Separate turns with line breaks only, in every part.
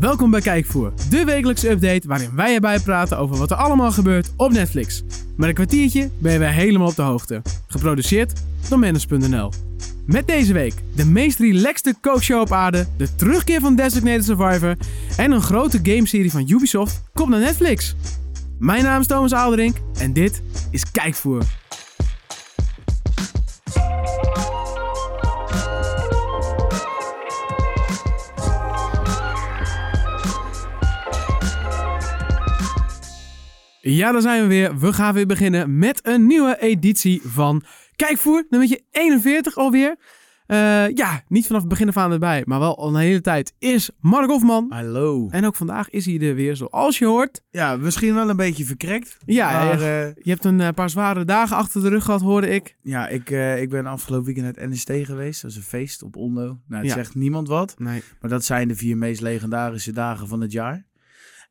Welkom bij Kijkvoer, de wekelijkse update waarin wij erbij praten over wat er allemaal gebeurt op Netflix. Met een kwartiertje ben je weer helemaal op de hoogte. Geproduceerd door Manus.nl. Met deze week de meest relaxte kookshow op aarde, de terugkeer van Designated Survivor en een grote gameserie van Ubisoft komt naar Netflix. Mijn naam is Thomas Alderink en dit is Kijkvoer. Ja, daar zijn we weer. We gaan weer beginnen met een nieuwe editie van Kijkvoer, nummertje 41 alweer. Eh, ja, niet vanaf het begin af aan erbij, maar wel al een hele tijd is Mark Hofman.
Hallo.
En ook vandaag is hij er weer, zoals je hoort.
Ja, misschien wel een beetje verkrekt.
Ja,
maar,
echt.
eh,
Je hebt een eh, paar zware dagen achter de rug gehad, hoorde ik.
ja ik, eh, ik ben afgelopen weekend naar het NST geweest. Dat is een feest op Ondo. Nou, het
Ja.
zegt niemand wat.
Nee.
Maar dat zijn de vier meest legendarische dagen van het jaar.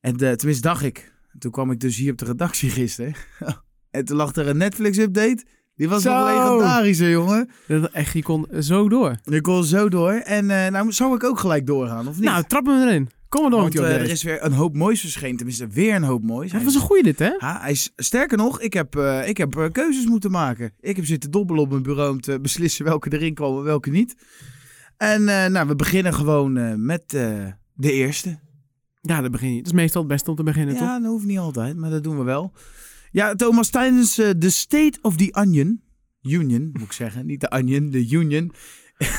En eh, tenminste, dacht ik. Toen kwam ik dus hier op de redactie gisteren. en toen lag er een Netflix-update. Die was
Zo.
nog legendarischer, jongen.
Dat, eh, echt, je kon zo door.
Ik kon zo door. En eh, nou zou ik ook gelijk doorgaan, of niet?
Nou, trap hem erin. Kom maar door
Want
met die
eh,
update.
er is weer een hoop moois verschenen. Tenminste, weer een hoop moois.
Dat was een goeie dit, hè?
Ja, hij is, sterker nog, ik heb, eh, ik heb eh, keuzes moeten maken. Ik heb zitten dobbelen op mijn bureau om te beslissen welke erin kwam en welke niet. En eh, nou, we beginnen gewoon eh, met eh, de eerste.
Ja, dat begin je. Dat is meestal het beste om te beginnen, toch?
Ja, dat hoeft niet altijd, maar dat doen we wel. Ja, Thomas, tijdens eh, The State of the Onion, Union moet ik zeggen, niet de Onion, de Union,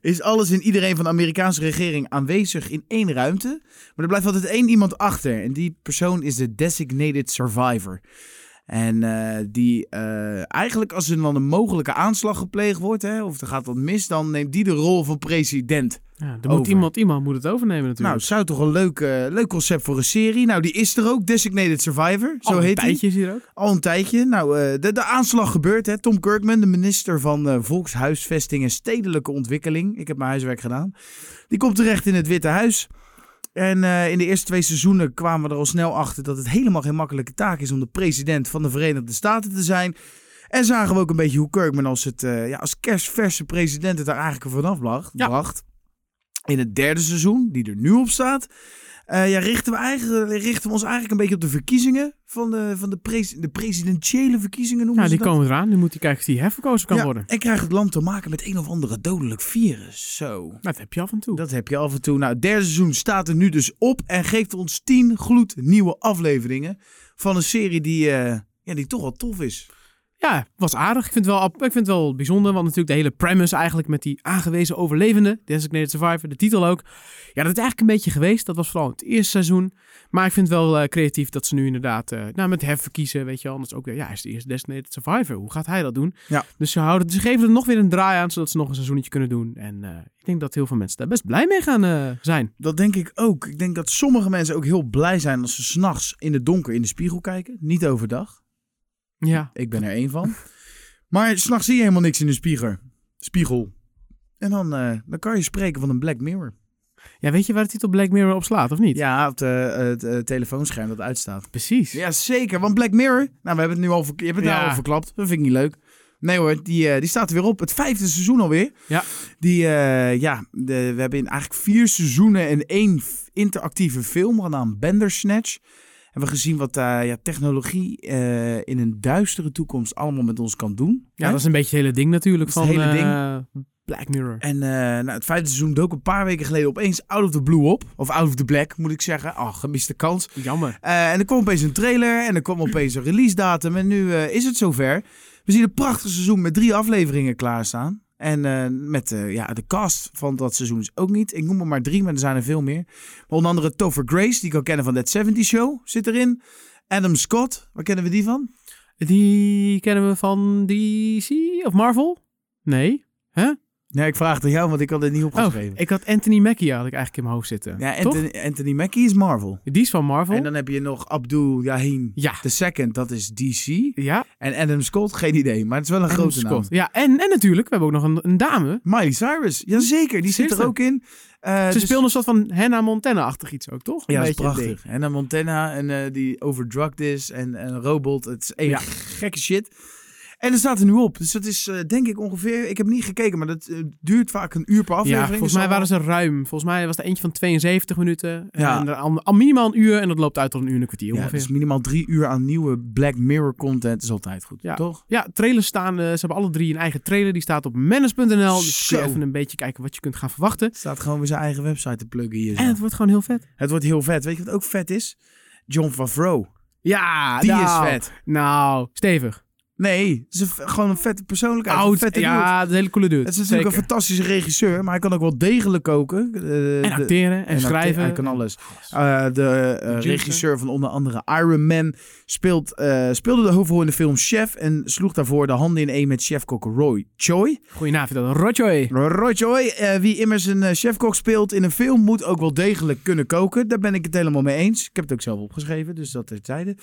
is alles en iedereen van de Amerikaanse regering aanwezig in één ruimte. Maar er blijft altijd één iemand achter en die persoon is de Designated Survivor. En eh, die eh, eigenlijk als er dan een mogelijke aanslag gepleegd wordt, hè, of er gaat wat mis, dan neemt die de rol van president.
Ja, er moet
Over.
iemand, iemand moet het overnemen
Nou,
natuurlijk.
het zou toch een leuk, eh, leuk concept voor een serie. Nou, die is er ook, Designated Survivor. Zo
Al een
heet hij.
tijdje is hier ook.
Al een tijdje. Nou, eh, de, de aanslag gebeurt. Hè. Tom Kirkman, de minister van eh, Volkshuisvesting en Stedelijke Ontwikkeling. Ik heb mijn huiswerk gedaan. Die komt terecht in het Witte Huis. En eh, in de eerste twee seizoenen kwamen we er al snel achter dat het helemaal geen makkelijke taak is om de president van de Verenigde Staten te zijn. En zagen we ook een beetje hoe Kirkman als, het, eh, ja, als kerstverse president het daar eigenlijk vanaf bracht.
Ja.
bracht. In het derde seizoen, die er nu op staat, eh, ja, richten, we eigenlijk, richten we ons eigenlijk een beetje op de verkiezingen van de, van de, pres- de presidentiële verkiezingen noemen
Nou,
ze
die
dat.
komen eraan. Nu moet hij kijken of hij herverkozen kan
Ja,
worden.
En krijgt het land te maken met een of andere dodelijk virus. Zo.
Nou, dat heb je af en toe.
Dat heb je af en toe. Nou, het derde seizoen staat er nu dus op en geeft ons tien gloednieuwe afleveringen van een serie die, eh, ja, die toch wel tof is.
Ja, was aardig. Ik vind, het wel, ap- ik vind het wel bijzonder, want natuurlijk de hele premise eigenlijk met die aangewezen overlevende, Designated Survivor, de titel ook. Ja, dat is eigenlijk een beetje geweest. Dat was vooral het eerste seizoen. Maar ik vind het wel eh, creatief dat ze nu inderdaad eh, nou, met herverkiezen, weet je wel. Anders ook weer, ja, hij is de eerste Designated Survivor. Hoe gaat hij dat doen?
Ja.
Dus ze, houden, ze geven er nog weer een draai aan, zodat ze nog een seizoenetje kunnen doen. En eh, ik denk dat heel veel mensen daar best blij mee gaan eh, zijn.
Dat denk ik ook. Ik denk dat sommige mensen ook heel blij zijn als ze s'nachts in het donker in de spiegel kijken. Niet overdag.
Ja.
Ik ben er één van. Maar s'nachts zie je helemaal niks in de spiegel. Spiegel. En dan, eh, dan kan je spreken van een Black Mirror.
ja, weet je waar de titel Black Mirror op slaat, of niet?
Ja, op de, eh, het eh, telefoonscherm dat uitstaat.
Precies.
Ja, zeker. Want Black Mirror, nou, we hebben het nu al, verk- je hebt het nou
Ja.
al verklapt. Dat vind ik niet leuk. Nee hoor, die, eh, die staat er weer op. Het vijfde seizoen alweer.
Ja.
Die, eh, ja, de, we hebben in eigenlijk vier seizoenen en één f- interactieve film genaamd Bandersnatch. Hebben we gezien wat eh, ja, technologie eh, in een duistere toekomst allemaal met ons kan doen.
Ja,
Hè?
dat is een beetje het hele ding natuurlijk
Dat
van
is het hele
eh, Black Mirror.
En eh, nou, het vijfde seizoen dook een paar weken geleden opeens out of the blue op. Of out of the black, moet ik zeggen. Ach, gemiste kans.
Jammer.
Eh, en er kwam opeens een trailer en er kwam opeens een release datum. En nu eh, is het zover. We zien een prachtig seizoen met drie afleveringen klaarstaan. En eh, met eh, ja, de cast van dat seizoen is ook niet. Ik noem er maar drie, maar er zijn er veel meer. Maar onder andere Topher Grace, die ik al kennen van That 70 Show, zit erin. Adam Scott, waar kennen we die van?
Die kennen we van DC of Marvel? Nee.
Nee, ik vraag het aan jou, want ik had het niet
Oh,
opgeschreven.
ik had Anthony Mackie had ik eigenlijk in mijn hoofd zitten.
ja,
Toch?
Anthony, Anthony Mackie is Marvel.
Die is van Marvel.
En dan heb je nog Abdul Yahim
Ja.
II, dat is DC.
Ja,
En Adam Scott, geen idee, maar het is wel een
Adam
grote naam.
Scott. Ja, en, en natuurlijk, we hebben ook nog een, een dame.
Miley Cyrus, jazeker, die zit
Zeker.
er ook in. Eh,
Ze
dus-
speelde een soort van Hannah Montana-achtig iets ook, toch? Een
Ja, dat is
beetje het ding.
prachtig. En dan Montana en eh, die overdrugged is en en een robot. Het is echt
Ja.
gekke shit. En er staat er nu op. Dus dat is eh, denk ik ongeveer... Ik heb niet gekeken, maar dat eh, duurt vaak een uur per aflevering.
Ja, volgens
Dus
mij waren
allemaal-
ze ruim. Volgens mij was er eentje van 72 minuten.
Ja.
En er al, al minimaal een uur. En dat loopt uit tot een uur en een kwartier
Ja,
ongeveer.
dus minimaal drie uur aan nieuwe Black Mirror content is altijd goed,
Ja.
toch?
Ja, trailers staan. eh, ze hebben alle drie een eigen trailer. Die staat op manage.nl. Dus kun je
Zo.
even een beetje kijken wat je kunt gaan verwachten.
Staat gewoon weer zijn eigen website te pluggen hier. zo.
En het wordt gewoon heel vet.
Het wordt heel vet. Weet je wat ook vet is? John Favreau.
Ja,
Die
nou,
is vet.
Nou, stevig.
Nee, het is een v- gewoon een vette persoonlijkheid. een
Oud.
vette dude.
ja, dat is een hele coole dude.
Het is natuurlijk
Zeker.
een fantastische regisseur, maar hij kan ook wel degelijk koken. Eh, de-
En acteren en,
acte-
schrijven.
Hij kan alles. Eh, de eh,
Producer.
regisseur van onder andere Iron Man speelt, eh, speelde de hoofdrol in de film Chef en sloeg daarvoor de handen in één met chefkok Roy Choi.
Goedenavond, dat Rotjoy.
Roy Choi, eh, wie immers een eh, chefkok speelt in een film, moet ook wel degelijk kunnen koken. Daar ben ik het helemaal mee eens. Ik heb het ook zelf opgeschreven, dus dat terzijde.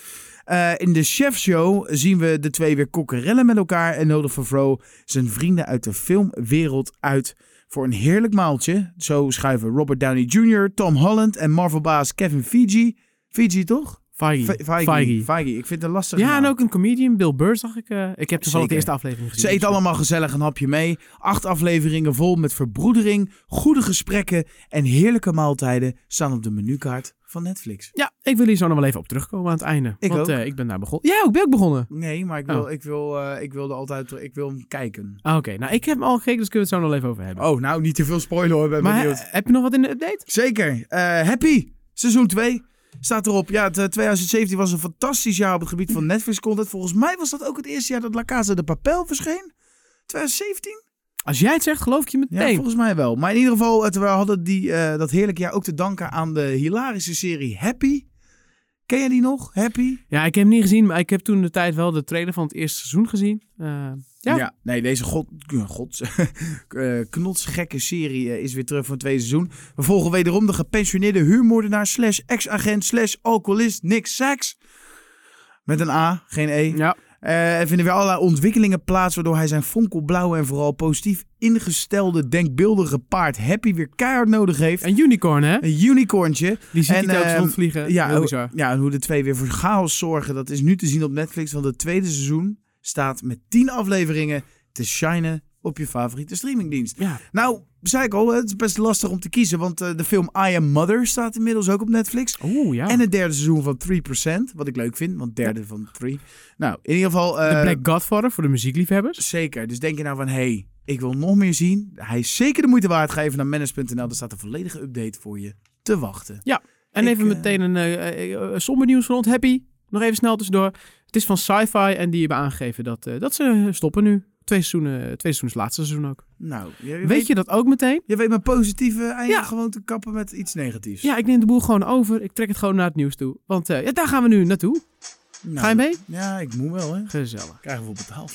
Eh in de chefshow zien we de twee weer kokkerellen met elkaar en nodig Favreau zijn vrienden uit de filmwereld uit voor een heerlijk maaltje. Zo schuiven Robert Downey Jr., Tom Holland en Marvel-baas Kevin Feige. Feige toch? Fe-
Feige.
Feige. Feige. Ik vind het lastig.
Ja, en ook een comedian, Bill Burr zag ik. eh, ik heb toevallig
Zeker.
de eerste aflevering gezien.
Ze eten allemaal gezellig een hapje mee. Acht afleveringen vol met verbroedering, goede gesprekken en heerlijke maaltijden staan op de menukaart van Netflix.
Ja, ik wil hier zo nog wel even op terugkomen aan het einde.
Ik
want
ook.
eh, ik ben daar begonnen. Ja, ik ben ook begonnen.
Nee, maar ik, wil, ik, wil, eh, ik wilde altijd ik wil hem kijken.
Ah, Oké, nou ik heb hem al gekeken, dus kunnen we het zo nog wel even over hebben.
Oh, nou niet te veel spoiler hoor, ben
maar
benieuwd.
eh, heb je nog wat in de update?
Zeker. Eh, happy, seizoen 2 staat erop. Ja, het, eh, 2017 was een fantastisch jaar op het gebied van Netflix content. Volgens mij was dat ook het eerste jaar dat La Casa de Papel verscheen. 2017?
Als jij het zegt, geloof ik je
Ja,
meteen.
volgens mij wel. Maar in ieder geval, het, we hadden die, eh, dat heerlijke jaar ook te danken aan de hilarische serie Happy. Ken jij die nog? Happy?
Ja, ik heb hem niet gezien, maar ik heb toen de tijd wel de trailer van het eerste seizoen gezien. Eh, ja.
nee, deze god, god, eh, knotsgekke serie eh, is weer terug van het tweede seizoen. We volgen wederom de gepensioneerde huurmoordenaar slash ex-agent slash alcoholist Nick Sachs. Met een A, geen E.
ja.
Eh, er vinden weer allerlei ontwikkelingen plaats, waardoor hij zijn fonkelblauwe en vooral positief ingestelde, denkbeeldige paard Happy weer keihard nodig heeft.
En Unicorn, hè?
Een unicorntje.
Die ziet
En,
hij telkens
ehm,
rondvliegen.
Ja,
Heel
hoe-
bizar.
ja, en hoe de twee weer voor chaos zorgen, dat is nu te zien op Netflix. Want het tweede seizoen staat met 10 afleveringen te shinen op je favoriete streamingdienst.
Ja.
Nou, zei ik al, het is best lastig om te kiezen. Want eh, de film I Am Mother staat inmiddels ook op Netflix.
Oeh, ja.
En het derde seizoen van 3%, wat ik leuk vind, want derde van 3. Nou, in ieder geval... eh,
de Black Godfather voor de muziekliefhebbers.
Zeker. Dus denk je nou van, hé, hey, ik wil nog meer zien. Hij is zeker de moeite waard. Ga even naar manage.nl, daar staat een volledige update voor je te wachten.
En
Ik,
even
eh,
meteen een eh, eh, eh, somber nieuws van ons. Happy. Nog even snel tussendoor. Het is van Sci-Fi en die hebben aangegeven dat, eh, dat ze stoppen nu. Twee seizoenen, eh, twee seizoenen is het laatste seizoen ook.
Nou, je
Weet je dat ook meteen?
Je weet mijn positieve einde
Ja.
gewoon te kappen met iets negatiefs.
Ja, ik neem de boel gewoon over. Ik trek het gewoon naar het nieuws toe. Want eh, ja, daar gaan we nu naartoe.
Nou,
Ga je mee?
Ja, ik moet wel, hè.
Gezellig.
Krijgen we betaald.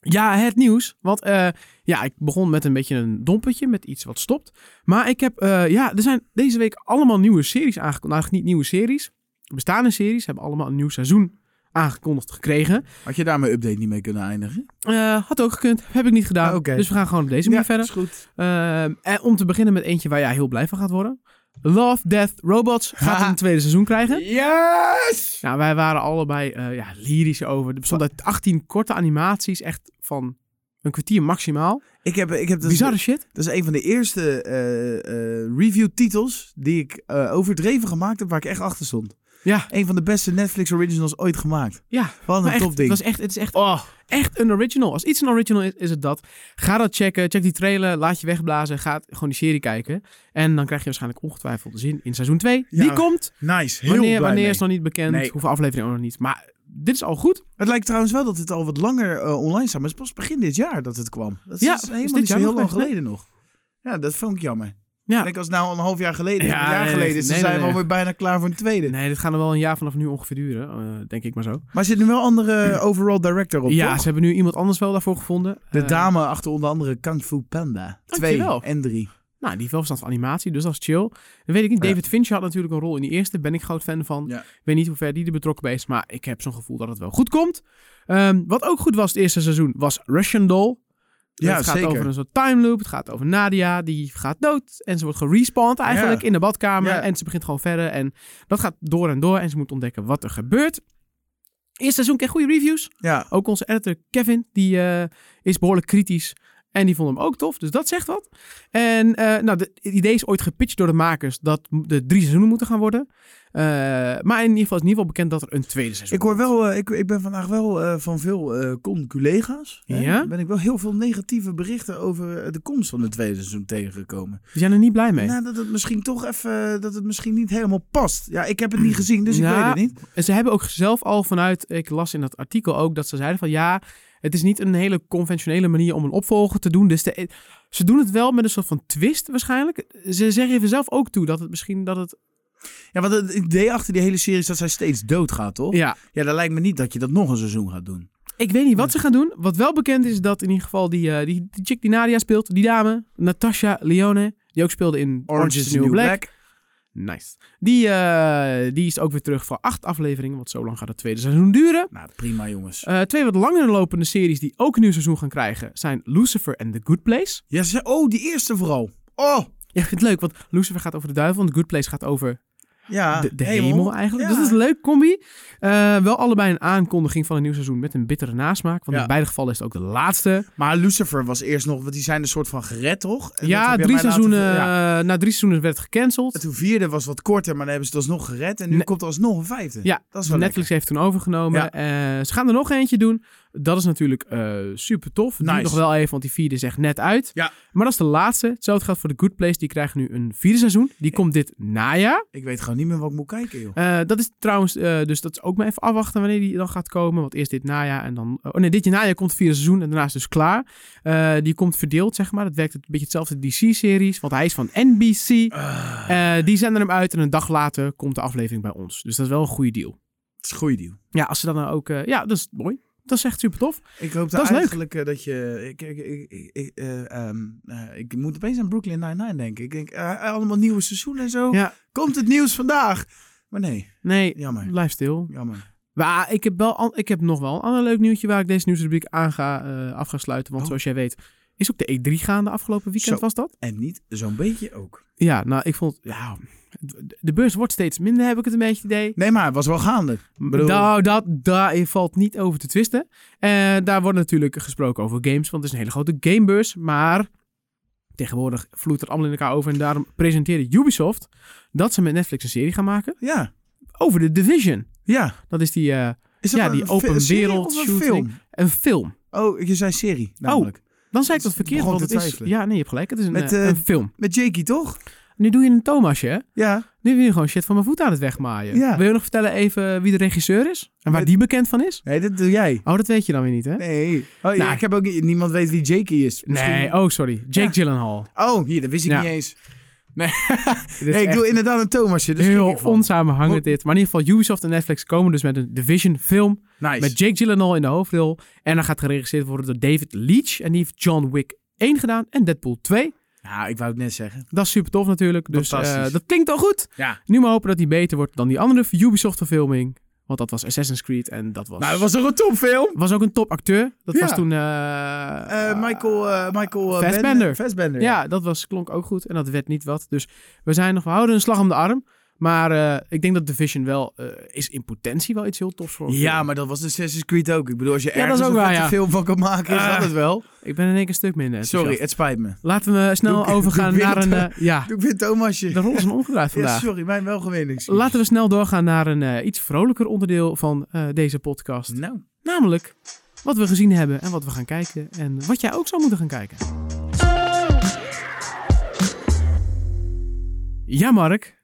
Ja, het nieuws. Want eh, ja, ik begon met een beetje een dompetje, met iets wat stopt. Maar ik heb, eh, ja, er zijn deze week allemaal nieuwe series aangekondigd. Nou, eigenlijk niet nieuwe series. Bestaande series hebben allemaal een nieuw seizoen aangekondigd gekregen.
Had je daar mijn update niet mee kunnen eindigen?
Eh, had ook gekund, heb ik niet gedaan.
Ah, oké.
Dus we gaan gewoon op deze manier verder.
is goed.
Ehm, en om te beginnen met eentje waar jij heel blij van gaat worden. Love, Death, Robots gaat een tweede seizoen krijgen.
Yes!
Nou, wij waren allebei eh, ja, lyrisch over. Er bestond uit 18 korte animaties, echt van een kwartier maximaal.
Ik heb, ik heb dat,
Bizarre
Is,
shit.
dat is een van de eerste eh, eh, review-titels die ik eh, overdreven gemaakt heb, waar ik echt achter stond.
Ja,
Een van de beste Netflix originals ooit gemaakt.
ja.
Wat
Maar
een
echt,
top ding. Oh.
Het, was echt, het is echt, echt een original. Als iets een original is, is het dat. Ga dat checken. Check die trailer. Laat je wegblazen. Ga het- gewoon die serie kijken. En dan krijg je waarschijnlijk ongetwijfeld te zien in seizoen 2.
Ja,
die komt.
Nice, heel
Wanneer,
blij
wanneer
mee.
is nog niet bekend.
Nee.
Hoeveel afleveringen ook nog niet. Maar dit is al goed.
Het lijkt trouwens wel dat het al wat langer eh, online staat, maar het is pas begin dit jaar dat het kwam. Dat is,
Ja,
is
is
helemaal
dit
niet zo
jaar
heel
nog
lang
weg, hè?
geleden nog. Ja, dat vond ik jammer.
Ja.
Ik denk als het nou al een half jaar geleden, is,
Ja,
een jaar
nee,
geleden, is,
nee,
dan
nee,
zijn we
nee.
alweer bijna klaar voor een tweede.
Nee, dit gaan er wel een jaar vanaf nu ongeveer duren. eh, denk ik maar zo.
Maar er zit nu wel een andere eh, overall director op,
ja,
toch?
ze hebben nu iemand anders wel daarvoor gevonden.
De
Eh,
dame achter onder andere Kung Fu Panda. Twee
Dankjewel.
en drie.
Nou, die heeft wel verstand van animatie, dus dat is chill. Dan weet ik niet,
Oh Ja.
David Fincher had natuurlijk een rol in die eerste. Ben ik groot fan van.
Ja.
Ik weet niet hoe ver die er betrokken bij is, maar ik heb zo'n gevoel dat het wel goed komt. Ehm, wat ook goed was het eerste seizoen, was Russian Doll.
Ja,
het gaat
zeker.
over een soort time loop. Het gaat over Nadia, die gaat dood. En ze wordt gerespawned eigenlijk
Ja.
in de badkamer.
Ja.
En ze begint gewoon verder. En dat gaat door en door. En ze moet ontdekken wat er gebeurt. Eerste seizoen kreeg goede reviews.
Ja,
Ook onze editor Kevin, die eh, is behoorlijk kritisch. En die vond hem ook tof, dus dat zegt wat. En eh, nou, de- het idee is ooit gepitcht door de makers dat m- de drie seizoenen moeten gaan worden. Eh, maar in ieder geval is in ieder geval bekend dat er een tweede seizoen
ik hoor wel, eh, ik, ik ben vandaag wel eh, van veel eh con-collega's. hè,
Ja?
Ben ik wel heel veel negatieve berichten over eh, de komst van het tweede seizoen tegengekomen.
komt. Die zijn er niet blij mee.
Nou, dat het misschien toch even, dat het misschien niet helemaal past. Ja, ik heb het niet gezien, dus ik
Mm. Ja.
weet het niet.
En ze hebben ook zelf al vanuit, ik las in dat artikel ook, dat ze zeiden van ja, het is niet een hele conventionele manier om een opvolger te doen. Dus de- ze doen het wel met een soort van twist waarschijnlijk. Ze zeggen even zelf ook toe dat het misschien, dat het,
Ja, want het idee achter die hele serie is dat zij steeds doodgaat, toch?
ja,
Ja, dat lijkt me niet dat je dat nog een seizoen gaat doen.
Ik weet niet wat ze gaan doen. Wat wel bekend is dat in ieder geval die, eh, die, die chick die Nadia speelt, die dame, Natasha Leone, die ook speelde in Orange, is the New Black. Nice. Die, eh, die is ook weer terug voor acht afleveringen, want zo lang gaat het tweede seizoen duren.
Nou, prima jongens.
Eh, twee wat langer lopende series die ook een nieuw seizoen gaan krijgen zijn Lucifer en The Good Place.
Ja, ze, oh, die eerste vooral. Oh,
Ja, ik vind het leuk, want Lucifer gaat over de duivel en The Good Place gaat over
ja.
de, de hemel. eigenlijk.
Ah,
Dus
Ja.
dat is een leuk combi. Eh, wel allebei een aankondiging van een nieuw seizoen met een bittere nasmaak, want
Ja.
in beide gevallen is het ook de laatste.
Maar Lucifer was eerst nog, want die zijn een soort van gered, toch? En dat
Ja,
heb jij
drie
mij laten
seizoenen,
ver- ja.
eh, na drie seizoenen werd het gecanceld.
En toen vierde was wat korter, maar dan hebben ze het alsnog gered. En nu
Ne-
komt er alsnog een vijfde.
Ja,
dat is wel
Netflix heeft toen overgenomen.
Ja.
Eh, ze gaan er nog eentje doen. Dat is natuurlijk eh, super tof. Duurt
Nice.
nog wel even, want die vierde is echt net uit.
Ja.
Maar dat is de laatste. Hetzelfde geldt voor The Good Place. Die krijgen nu een vierde seizoen. Die komt dit najaar.
lekker. Ik weet gewoon niet meer wat ik moet kijken, joh.
Eh, dat is trouwens, eh, dus dat is ook maar even afwachten wanneer die dan gaat komen. Want eerst dit najaar en dan... Oh nee, dit najaar komt het vierde seizoen en daarna is het dus klaar. Eh, die komt verdeeld, zeg maar. Dat werkt een beetje hetzelfde DC-series, want hij is van NBC.
Ah,
Eh, die zenden hem uit en een dag later komt de aflevering bij ons. Dus dat is wel een goede deal.
het is een goede deal.
Ja, als ze dan ook... eh, ja, dat is mooi. Dat is echt super tof.
Ik hoop
Dat is leuk.
eigenlijk eh, dat je... Ik, ik, ik, ik, ik, eh, ehm, eh, ik moet opeens aan Brooklyn Nine-Nine denken. Ik denk, eh, allemaal nieuwe seizoenen en zo.
Ja.
Komt het nieuws vandaag? Maar nee,
Nee,
jammer.
blijf stil.
Jammer.
Maar ah, ik heb, wel an- ik heb nog wel een ander leuk nieuwtje waar ik deze nieuwsrubriek aan ga, eh, af ga sluiten. Want
Oh.
zoals jij weet is ook de E3 gaande afgelopen weekend,
Zo.
was dat?
En niet zo'n beetje ook.
Ja, nou, ik vond... Ja, d- de beurs wordt steeds minder, heb ik het een beetje het idee.
Nee, maar het was wel gaande. bedoel-
Nou, dat, daar valt niet over te twisten. Eh, daar wordt natuurlijk gesproken over games, want het is een hele grote gamebeurs. Maar tegenwoordig vloeit het allemaal in elkaar over. En daarom presenteerde Ubisoft dat ze met Netflix een serie gaan maken
Ja,
over The Division.
ja.
Dat is die, eh,
Is dat
Ja, die
een
open
fi- een serie
wereld
of een
shooting.
film?
een film.
Oh, je zei serie, namelijk.
Dan zei ik dat
Dus
verkeerd,
begon
want het
te
is...
twijfelen.
Ja, nee, je hebt gelijk. Het is een,
Met,
eh,
eh,
een film.
Met Jakey, toch?
Nu doe je een Thomasje, hè?
Ja.
Nu ben je gewoon shit van mijn voet aan het wegmaaien.
Ja.
Wil je nog vertellen even wie de regisseur is? En waar
Met-
die bekend van is?
Nee, dat doe jij.
Oh, dat weet je dan weer niet, hè?
Nee. Oh, ja,
Nou.
ik heb ook niet- niemand weet wie Jakey is. Misschien-
Nee, oh, sorry. Jake
Ja.
Gyllenhaal.
Oh, hier, dat wist ik
Ja.
niet eens.
Dit is
Nee, ik
echt
doe inderdaad een Thomasje. Dus
heel
ik van.
onsamenhangend dit. Maar in ieder geval, Ubisoft en Netflix komen dus met een Division film.
Nice.
Met Jake Gyllenhaal in de hoofdrol. En dan gaat geregisseerd worden door David Leitch. En die heeft John Wick 1 gedaan en Deadpool 2.
Ja, ik wou het net zeggen.
Dat is super tof natuurlijk. Dus eh,
Fantastisch.
dat klinkt al goed.
Ja.
Nu maar hopen dat die beter wordt dan die andere Ubisoft-verfilming. Want dat was Assassin's Creed en dat was...
Nou, dat was toch een topfilm?
was ook een topacteur. Dat
Ja.
was toen... eh,
Eh Michael, eh Michael eh, Ben-
Fassbender.
Fassbender.
Ja, dat was, klonk ook goed. En dat werd niet wat. Dus we zijn nog... We houden een slag om de arm. Maar eh, ik denk dat Division wel... eh, is in potentie wel iets heel tofs voor een
Ja,
film.
maar dat was Assassin's Creed ook. Ik bedoel, als je
Ja, dat
ergens
is ook
een
waar,
vette
ja.
film van kan maken, is
Ah.
dat het wel.
Ik ben in één keer een stuk minder enthousiast.
eh. Sorry, het spijt me.
Laten we snel
Doe ik-
overgaan
doe ik
naar
weer
een...
dat-
eh, ja,
Doe ik weer Thomasje.
de rollen zijn omgedraaid
Ja,
vandaag.
sorry, mijn welgemeende excuus.
Laten we snel doorgaan naar een eh, iets vrolijker onderdeel van eh, deze podcast.
Nou.
Namelijk wat we gezien hebben en wat we gaan kijken. En wat jij ook zou moeten gaan kijken. Ja, Mark.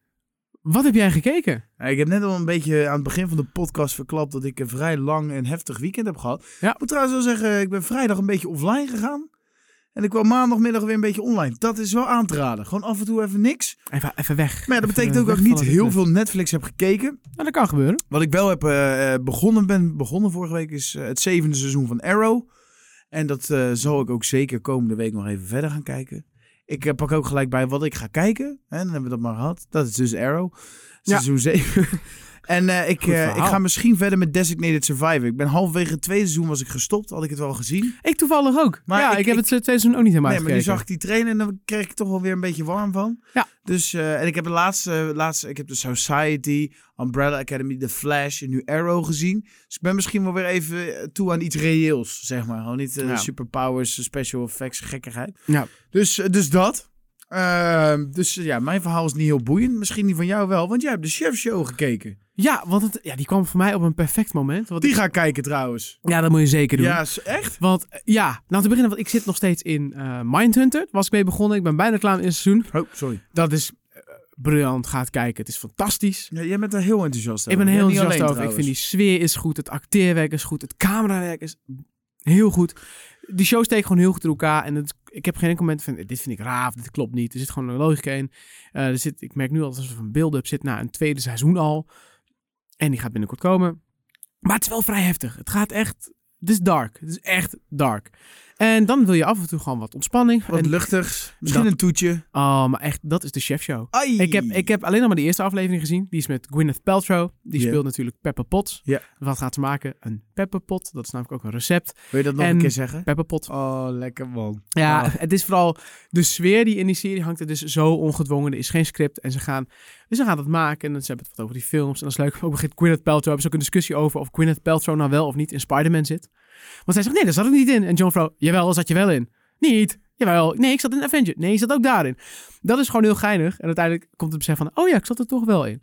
Wat heb jij gekeken?
Ja, Ik heb net al een beetje aan het begin van de podcast verklapt dat ik een vrij lang en heftig weekend heb gehad.
Ja.
Ik moet trouwens wel zeggen, ik ben vrijdag een beetje offline gegaan. En ik kwam maandagmiddag weer een beetje online. Dat is wel aan te raden. Gewoon af en toe even niks.
Even, even weg.
Maar ja, dat
Even
betekent ook dat ik
weg
niet
van het
heel
net.
veel Netflix heb gekeken.
Nou, dat kan gebeuren.
Wat ik wel heb eh, eh, begonnen ben, begonnen vorige week, is eh, het zevende seizoen van Arrow. En dat eh, zal ik ook zeker komende week nog even verder gaan kijken. Ik eh, pak ook gelijk bij wat ik ga kijken. Hè, dan hebben we dat maar gehad. Dat is dus Arrow.
Ja.
Seizoen 7. En eh, ik,
Goed
eh, ik
verhaal.
ga misschien verder met Designated Survivor. Ik ben halverwege het tweede seizoen was ik gestopt. Had ik het wel gezien.
Ik toevallig ook.
Maar
ja,
ik-
ik, heb
ik-
het tweede seizoen ook niet helemaal
Nee, maar nu
gekeken.
zag ik die trainer en dan kreeg ik toch wel weer een beetje warm van.
Ja.
Dus, eh, en ik heb de laatste, laatste, ik heb de Society, Umbrella Academy, The Flash en nu Arrow gezien. Dus ik ben misschien wel weer even eh, toe aan iets reëels, zeg maar. Gewoon niet eh,
Ja.
superpowers, special effects, gekkigheid.
Ja.
Dus, eh, dus dat. Ehm, dus eh, ja, mijn verhaal is niet heel boeiend. Misschien die van jou wel, want jij hebt de Chef Show gekeken.
Ja, want het, ja, die kwam voor mij op een perfect moment. Want
Die ga ik kijken trouwens.
Ja, dat moet je zeker doen.
Ja, is- echt?
Want eh, ja, nou te beginnen, want ik zit nog steeds in eh, Mindhunter. Daar Was ik mee begonnen. Ik ben bijna klaar met het eerste seizoen.
Oh, sorry.
Dat is eh, briljant. Gaat kijken. Het is fantastisch.
Ja, jij bent er heel enthousiast
ik
over.
ben er
Jij
heel
niet
enthousiast over.
alleen
Ik vind die sfeer is goed. Het acteerwerk is goed. Het camerawerk is heel goed. Die show steekt gewoon heel goed door elkaar. En het, ik heb geen enkel moment van, dit vind ik raar, of dit klopt niet. Er zit gewoon een logica in. Eh, er zit, ik merk nu al dat er een soort van build-up zit na een tweede seizoen al. En die gaat binnenkort komen. Maar het is wel vrij heftig. Het gaat echt... Het is dark. Het is echt dark. En dan wil je af en toe gewoon wat ontspanning.
Wat
en,
luchtigs. Misschien
Dat-
een toetje.
oh, maar echt, dat is de chefshow.
Ai.
Ik heb, ik heb alleen nog maar de eerste aflevering gezien. Die is met Gwyneth Paltrow. Die
Ja.
speelt natuurlijk Pepper Potts.
Ja.
Wat gaat ze maken? Een pepperpot. Dat is namelijk ook een recept.
Wil je dat nog
En-
een keer zeggen?
Pepperpot.
Oh, lekker man.
Ja,
Ah.
het is vooral de sfeer die in die serie hangt. Het is zo ongedwongen. Er is geen script. En ze gaan, dus ze gaan dat maken. En dan ze hebben het wat over die films. En dat is leuk. Ook begint Gwyneth Paltrow. Hebben ze ook een discussie over of Gwyneth Paltrow nou wel of niet in Spider-Man zit. Want zij zegt, nee, daar zat ik niet in. En John Vrouw, jawel, daar zat je wel in. Niet. Jawel, nee, ik zat in Avenger. Nee, ik zat ook daarin. Dat is gewoon heel geinig. En uiteindelijk komt het besef van, oh ja, ik zat er toch wel in.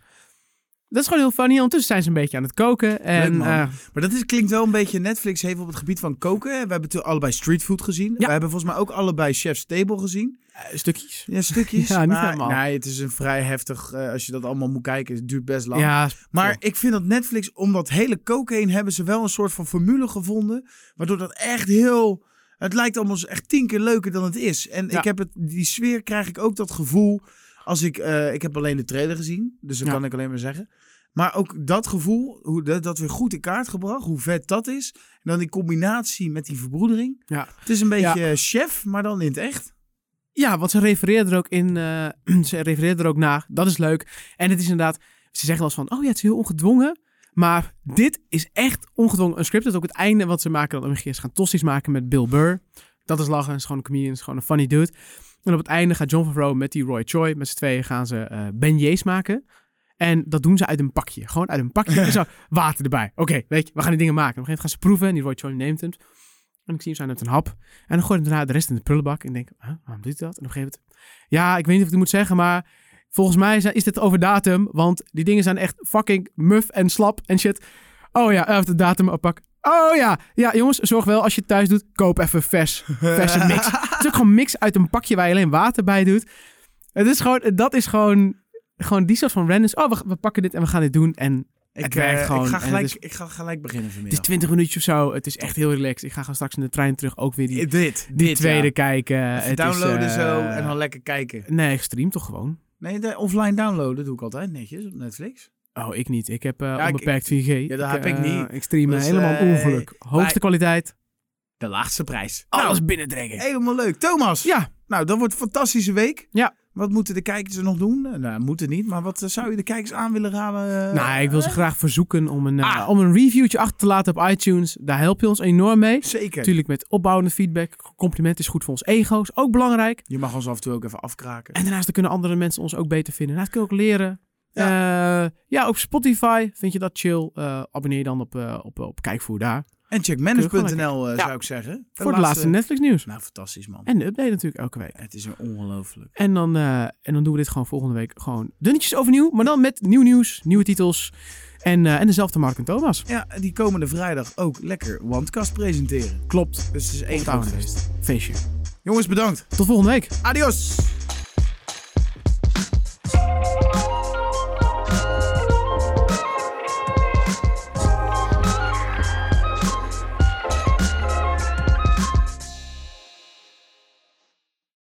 Dat is gewoon heel funny. Ondertussen zijn ze een beetje aan het koken. En
Leuk, man.
eh,
Maar dat is, klinkt wel een beetje Netflix heeft op het gebied van koken. We hebben toen allebei streetfood gezien.
Ja.
We hebben volgens mij ook allebei Chef's Table gezien.
stukjes.
Ja, stukjes.
Ja, niet
maar,
helemaal.
Nee, het is een vrij heftig, eh, als je dat allemaal moet kijken, het duurt best lang.
Ja,
Maar
Ja.
ik vind dat Netflix, om dat hele koken heen, hebben ze wel een soort van formule gevonden. Waardoor dat echt heel. Het lijkt allemaal echt tien keer leuker dan het is. En
Ja.
ik heb het, die sfeer krijg ik ook dat gevoel. Als ik, eh, ik heb alleen de trailer gezien, dus dat
Ja.
kan ik alleen maar zeggen. Maar ook dat gevoel, hoe dat, dat weer goed in kaart gebracht, hoe vet dat is. En dan die combinatie met die verbroedering.
Ja.
Het is een beetje eh, chef, maar dan in het echt.
Ja, want ze refereert er ook in. eh, ze refereert er ook naar. Dat is leuk. En het is inderdaad. Ze zeggen wel eens van. Oh ja, het is heel ongedwongen. Maar dit is echt ongedwongen. Een script dat ook het einde wat ze maken. Dan is gaan tossies maken met Bill Burr. Dat is lachen. Is gewoon een comedian. Is gewoon een funny dude. En op het einde gaat John Favreau met die Roy Choi. Met z'n tweeën gaan ze eh beignets maken. En dat doen ze uit een pakje. Gewoon uit een pakje. en zo water erbij. Oké, weet je. We gaan die dingen maken. Op een gegeven moment gaan ze proeven. En die Roy Choi neemt het. En ik zie hem, zij neemt een hap. En dan gooi ik daarna de rest in de prullenbak. En denk, huh, waarom doet hij dat? En op een gegeven moment, ja, ik weet niet of ik het moet zeggen, maar volgens mij zijn- is dit over datum. Want die dingen zijn echt fucking muf en slap en shit. Oh ja, even de datum oppak. Oh ja, ja jongens, zorg wel als je het thuis doet, koop even vers, verse mix. het is ook gewoon mix uit een pakje waar je alleen water bij doet. Het is gewoon, dat is gewoon, gewoon die soort van randoms. Oh, we, we pakken dit en we gaan dit doen. En Het
eh,
werkt gewoon
Ik ga
en
gelijk,
het is-
ik ga gelijk beginnen
het is
vanmiddag.
20 minuutjes of zo. Het is echt heel relaxed. Ik ga gewoon straks in de trein terug ook weer die,
Eh, dit.
die
dit,
tweede
ja.
kijken.
Even
Het is,
downloaden
eh,
zo en dan lekker kijken.
Nee, ik stream toch gewoon.
Nee, de offline downloaden doe ik altijd netjes op Netflix.
Oh, ik niet. Ik heb eh,
ik-
onbeperkt 4G.
Ja, dat heb ik
eh,
niet.
Ik stream
Dus,
helemaal
eh,
ongeluk. Hoogste
wij-
kwaliteit.
De laagste prijs.
Alles
Nou,
binnendrengen.
helemaal leuk. Thomas,
Ja,
nou, dat wordt een fantastische week.
Ja.
Wat moeten de kijkers er nog doen? Eh, Nou, moeten niet, maar wat eh, zou je de kijkers aan willen raden? eh?
nou, ik wil ze graag verzoeken om een, eh,
Ah.
om een reviewtje achter te laten op iTunes. Daar help je ons enorm mee.
Zeker.
Natuurlijk met opbouwende feedback. Compliment is goed voor ons ego. Is ook belangrijk.
Je mag ons af en toe ook even afkraken.
En daarnaast dan kunnen andere mensen ons ook beter vinden. Daarnaast kunnen we ook leren. Ja. ja, op Spotify vind je dat chill. Eh, abonneer je dan op, eh, op, op Kijkvoer daar.
En check
Kun je
manage.nl eh,
Ja.
zou ik zeggen.
voor de laatste Netflix nieuws.
Nou, fantastisch man.
En de update natuurlijk elke week.
Het is een ongelooflijk.
En dan, eh, en dan doen we dit gewoon volgende week gewoon dunnetjes overnieuw. Maar dan met nieuw nieuws, nieuwe titels. En, eh, en dezelfde Mark en Thomas.
Ja, en die komende vrijdag ook lekker Wandkast presenteren.
Klopt.
Dus het is één
Eén
groot feest.
feestje.
Jongens, bedankt.
Tot volgende week.
Adios.